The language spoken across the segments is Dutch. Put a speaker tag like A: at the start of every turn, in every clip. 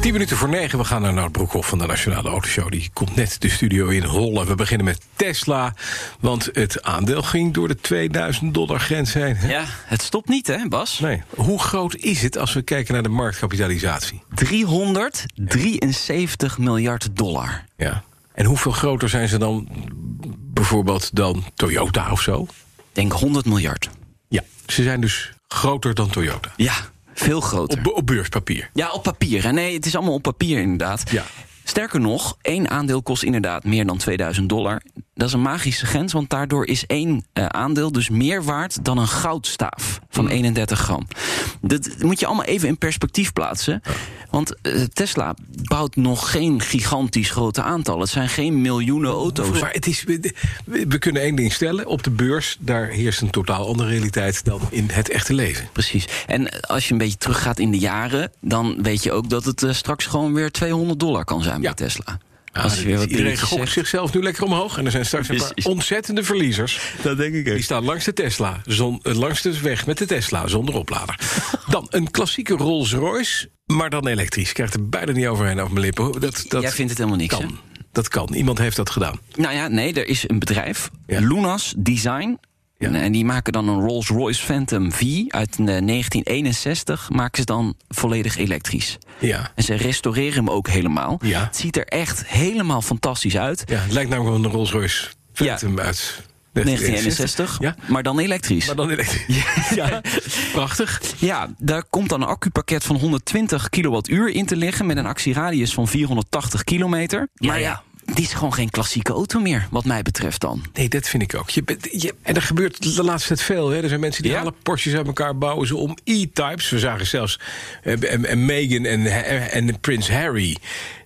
A: 10 minuten voor 9, we gaan naar Nout Broekhoff van de Nationale Autoshow. Die komt net de studio in rollen. We beginnen met Tesla, want het aandeel ging door de 2000 dollar grens heen.
B: Ja, het stopt niet, hè, Bas?
A: Nee. Hoe groot is het als we kijken naar de marktkapitalisatie?
B: 373 miljard dollar.
A: Ja. En hoeveel groter zijn ze dan bijvoorbeeld dan Toyota of zo?
B: Denk 100 miljard.
A: Ja. Ze zijn dus groter dan Toyota.
B: Ja, veel groter.
A: Op, op beurspapier.
B: Ja, op papier. hè. Nee, het is allemaal op papier inderdaad.
A: Ja.
B: Sterker nog, één aandeel kost inderdaad meer dan 2000 dollar. Dat is een magische grens, want daardoor is één eh, aandeel dus meer waard dan een goudstaaf
A: Mm.
B: van 31 gram. Dat moet je allemaal even in perspectief plaatsen. Want eh, Tesla bouwt nog geen gigantisch grote aantallen. Het zijn geen miljoenen auto's.
A: Maar het is, we, we kunnen één ding stellen. Op de beurs, daar heerst een totaal andere realiteit dan in het echte leven.
B: Precies. En als je een beetje teruggaat in de jaren, dan weet je ook dat het eh, straks gewoon weer 200 dollar kan zijn
A: Ja.
B: bij Tesla.
A: Ja,
B: als
A: dat
B: je weer
A: is-
B: wat
A: iedereen
B: dingetjes
A: gokt
B: zegt.
A: zichzelf nu lekker omhoog. En er zijn straks een paar
B: Precies.
A: ontzettende verliezers.
C: Dat denk ik
A: Die staan langs de Tesla, zon, eh, langs de weg met de Tesla, zonder oplader. Dan een klassieke Rolls Royce, maar dan elektrisch. Ik krijg er bijna niet overheen over mijn lippen. Dat, dat
B: Jij vindt het helemaal niks,
A: Kan. Dat kan. Iemand heeft dat gedaan.
B: Nou ja, nee, er is een bedrijf,
A: Ja.
B: Lunas Design.
A: Ja.
B: En, en die maken dan een Rolls-Royce Phantom V uit eh, 1961. Maken ze dan volledig elektrisch.
A: Ja.
B: En ze restaureren hem ook helemaal.
A: Ja.
B: Het ziet er echt helemaal fantastisch uit.
A: ja het lijkt namelijk wel een Rolls Royce Phantom uit
B: 1961,
A: Ja.
B: maar dan elektrisch.
A: Maar dan elektrisch. Ja. Prachtig.
B: Ja, daar komt dan een accupakket van 120 kilowattuur in te liggen met een actieradius van 480 kilometer. maar ja, dit is gewoon geen klassieke auto meer, wat mij betreft dan.
A: Nee, dat vind ik ook. Je bent, je, en er gebeurt de laatste tijd veel. Hè. Er zijn mensen die
B: Ja.
A: halen Porsches uit elkaar, bouwen ze om E-types. We zagen zelfs eh, en, en Meghan en, en Prins Harry...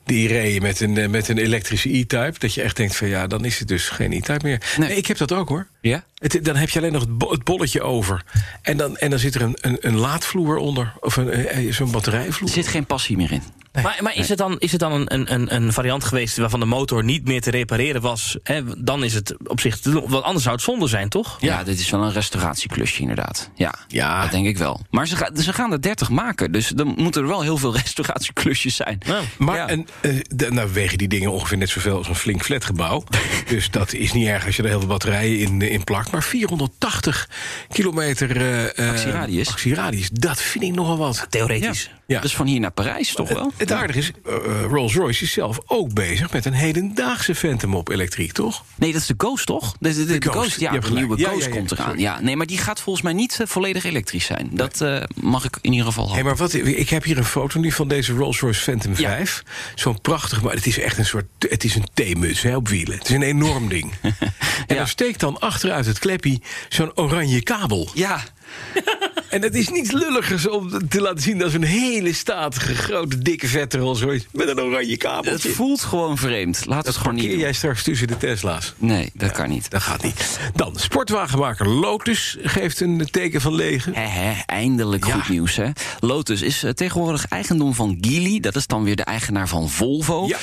A: die reden met een, eh, met een elektrische E-type. Dat je echt denkt van ja, dan is het dus geen E-type meer. Nee.
B: Nee.
A: ik heb dat ook hoor.
B: Ja?
A: Het, dan heb je alleen nog het, bo- het bolletje over. En dan, en dan zit er een, een, een laadvloer onder. Of een, eh, zo'n batterijvloer.
B: Er zit geen passie meer in.
D: Maar, maar is het dan, is het dan een- een, een, een variant geweest waarvan de motor niet meer te repareren was? Hè? Dan is het op zich te doen. Want anders zou het zonde zijn, toch?
B: Ja, dit is wel een restauratieklusje inderdaad. Ja,
A: Ja.
B: dat denk ik wel. Maar ze, ga- ze gaan er 30 maken, dus dan moeten er wel heel veel restauratieklusjes zijn.
A: Maar
B: Ja.
A: een, eh, de- nou wegen die dingen ongeveer net zoveel als een flink flatgebouw. dus dat is niet erg als je er heel veel batterijen in, eh, in plakt. Maar 480 kilometer eh, eh,
B: Actieradius.
A: actieradius, dat vind ik nogal wat.
D: Theoretisch.
A: Ja.
B: Dus van hier naar Parijs toch wel?
A: Het aardige is, eh, eh, Rolls-Royce is zelf ook bezig met een hedendaagse Phantom op elektriek, toch?
B: Nee, dat is de Ghost, toch? De, de, de
A: Ghost,
B: Ghost,
A: je
B: ja,
A: hebt
B: de
A: gelijk.
B: nieuwe
A: Ja,
B: Ghost
A: ja, ja,
B: komt eraan.
A: sorry.
B: Ja, nee, maar die gaat volgens mij niet eh, volledig elektrisch zijn. Dat eh, mag ik in ieder geval
A: Hé,
B: hopen.
A: maar wat, ik heb hier een foto nu van deze Rolls-Royce Phantom
B: Oh. Ja.
A: 5. Zo'n prachtig, maar het is echt een soort, het is een theemuts hè, op wielen. Het is een enorm ding. En daar steekt dan achteruit het klepje zo'n oranje kabel.
B: Ja,
A: En het is niets lulligers om te laten zien dat een hele statige, grote, dikke, vette Rolls Royce met een oranje
B: het
A: kabeltje.
B: voelt gewoon vreemd. Laat het gewoon niet
A: Parkeer
B: doen.
A: jij straks tussen de Tesla's?
B: Nee, dat kan niet.
A: Dat gaat niet. Dan, sportwagenmaker Lotus geeft een teken van leger.
B: Hè, hè, eindelijk
A: Ja.
B: goed nieuws, hè? Lotus is eh, tegenwoordig eigendom van Geely. Dat is dan weer de eigenaar van Volvo.
A: Ja.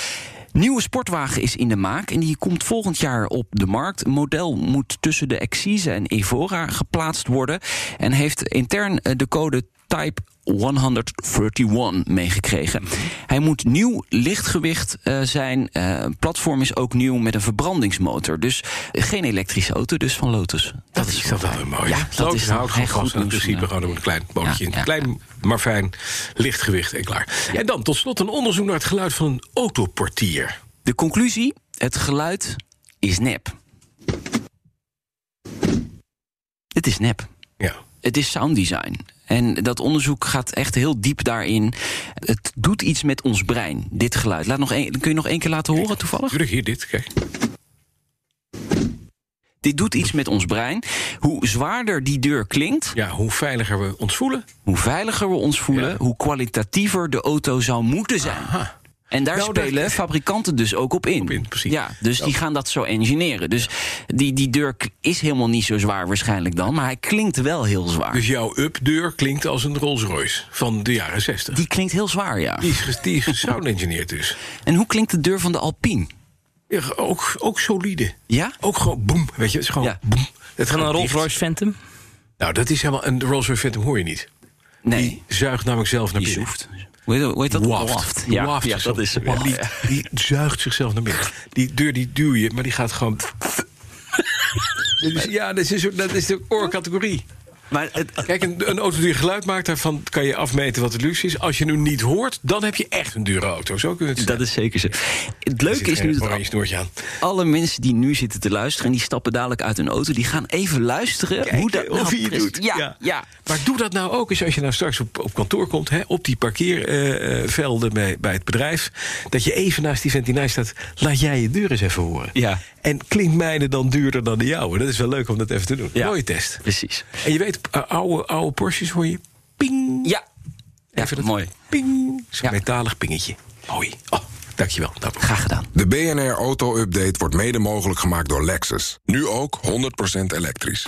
B: Nieuwe sportwagen is in de maak en die komt volgend jaar op de markt. Een model moet tussen de Exise en Evora geplaatst worden... en heeft intern eh, de code Type 131 meegekregen. Hij moet nieuw lichtgewicht eh, zijn. Eh, platform is ook nieuw met een verbrandingsmotor. Dus geen elektrische auto, dus van Lotus. Dat,
A: is dat wel een mooie.
B: Ja, dat
A: Lotus houdt
B: is nou
A: gewoon
B: echt
A: vast
B: goed
A: aan het
B: nieuws
A: principe.
B: vandaag.
A: Gewoon door een klein bootje.
B: Ja,
A: in.
B: ja,
A: klein, maar fijn, licht gewicht en klaar. En dan, tot slot, een onderzoek naar het geluid van een autoportier.
B: De conclusie: het geluid is nep. Het is nep.
A: Ja.
B: Het is sound design. En dat onderzoek gaat echt heel diep daarin. Het doet iets met ons brein, dit geluid. Laat nog een, kun je nog één keer laten horen toevallig?
A: Natuurlijk hier dit, kijk.
B: Dit doet iets met ons brein. Hoe zwaarder die deur klinkt,
A: Ja, hoe veiliger we ons voelen.
B: hoe veiliger we ons voelen,
A: Ja.
B: hoe kwalitatiever de auto zou moeten zijn. En daar
A: Nou, daar-
B: spelen fabrikanten dus ook op in.
A: Op in, precies.
B: Ja, dus die gaan dat zo engineeren. Dus die, die deur k- is helemaal niet zo zwaar waarschijnlijk dan. Maar hij klinkt wel heel zwaar.
A: Dus jouw up-deur klinkt als een Rolls Royce van de jaren 60.
B: die klinkt heel zwaar, ja.
A: Die is, ges- die is sound engineer dus.
B: En hoe klinkt de deur van de Alpine?
A: Ja, Ook, ook solide.
B: Ja?
A: Ook gewoon boem, weet je. Het is gewoon
B: Ja.
A: boem. Het
D: Van
A: gaat
D: een Rolls
A: dicht.
D: Royce Phantom.
A: Nou, dat is helemaal... Een Rolls Royce Phantom hoor je niet.
B: Nee,
A: Zuigt namelijk zelf naar
B: die
A: binnen.
B: zoeft. Hoe heet dat- hoe heet dat?
A: Waft.
B: Ja,
A: Waft
B: ja,
A: zichzelf
B: dat is
A: naar binnen.
B: Waft.
A: Die, die zuigt zichzelf naar binnen. Die deur die duw je, maar die gaat gewoon... Dit is- Ja, dat is, een soort- dat is de oorcategorie.
B: Maar het,
A: Kijk, een, een auto die geluid maakt, daarvan kan je afmeten wat de luxe is. Als je nu niet hoort, dan heb je echt een dure auto. Zo kun je het
B: dat is zeker zo. Het leuke is nu dat
A: oranje snoertje aan.
B: alle mensen die nu zitten te luisteren... en die stappen dadelijk uit hun auto... die gaan even luisteren hoe dat
A: of
B: nou
A: je het
B: precies-
A: doet.
B: Ja, ja.
A: Maar doe dat nou ook eens als je nou straks op, op kantoor komt... Hè, op die parkeervelden bij, bij het bedrijf... dat je even naast die ventilator staat... laat jij je deur eens even horen.
B: Ja.
A: En klinkt mijne dan duurder dan de jouwe? Dat is wel leuk om dat even te doen.
B: Ja.
A: Mooie test.
B: precies.
A: En je weet, eh, oude, oude Porsches hoor je... ping.
B: Ja, ja
A: Even dat
B: mooi.
A: Ping. Zo'n
B: Ja.
A: metalig pingetje. Mooi. Oh, dankjewel. Nou,
B: Graag gedaan.
E: De BNR Auto Update wordt mede mogelijk gemaakt door Lexus. Nu ook 100% elektrisch.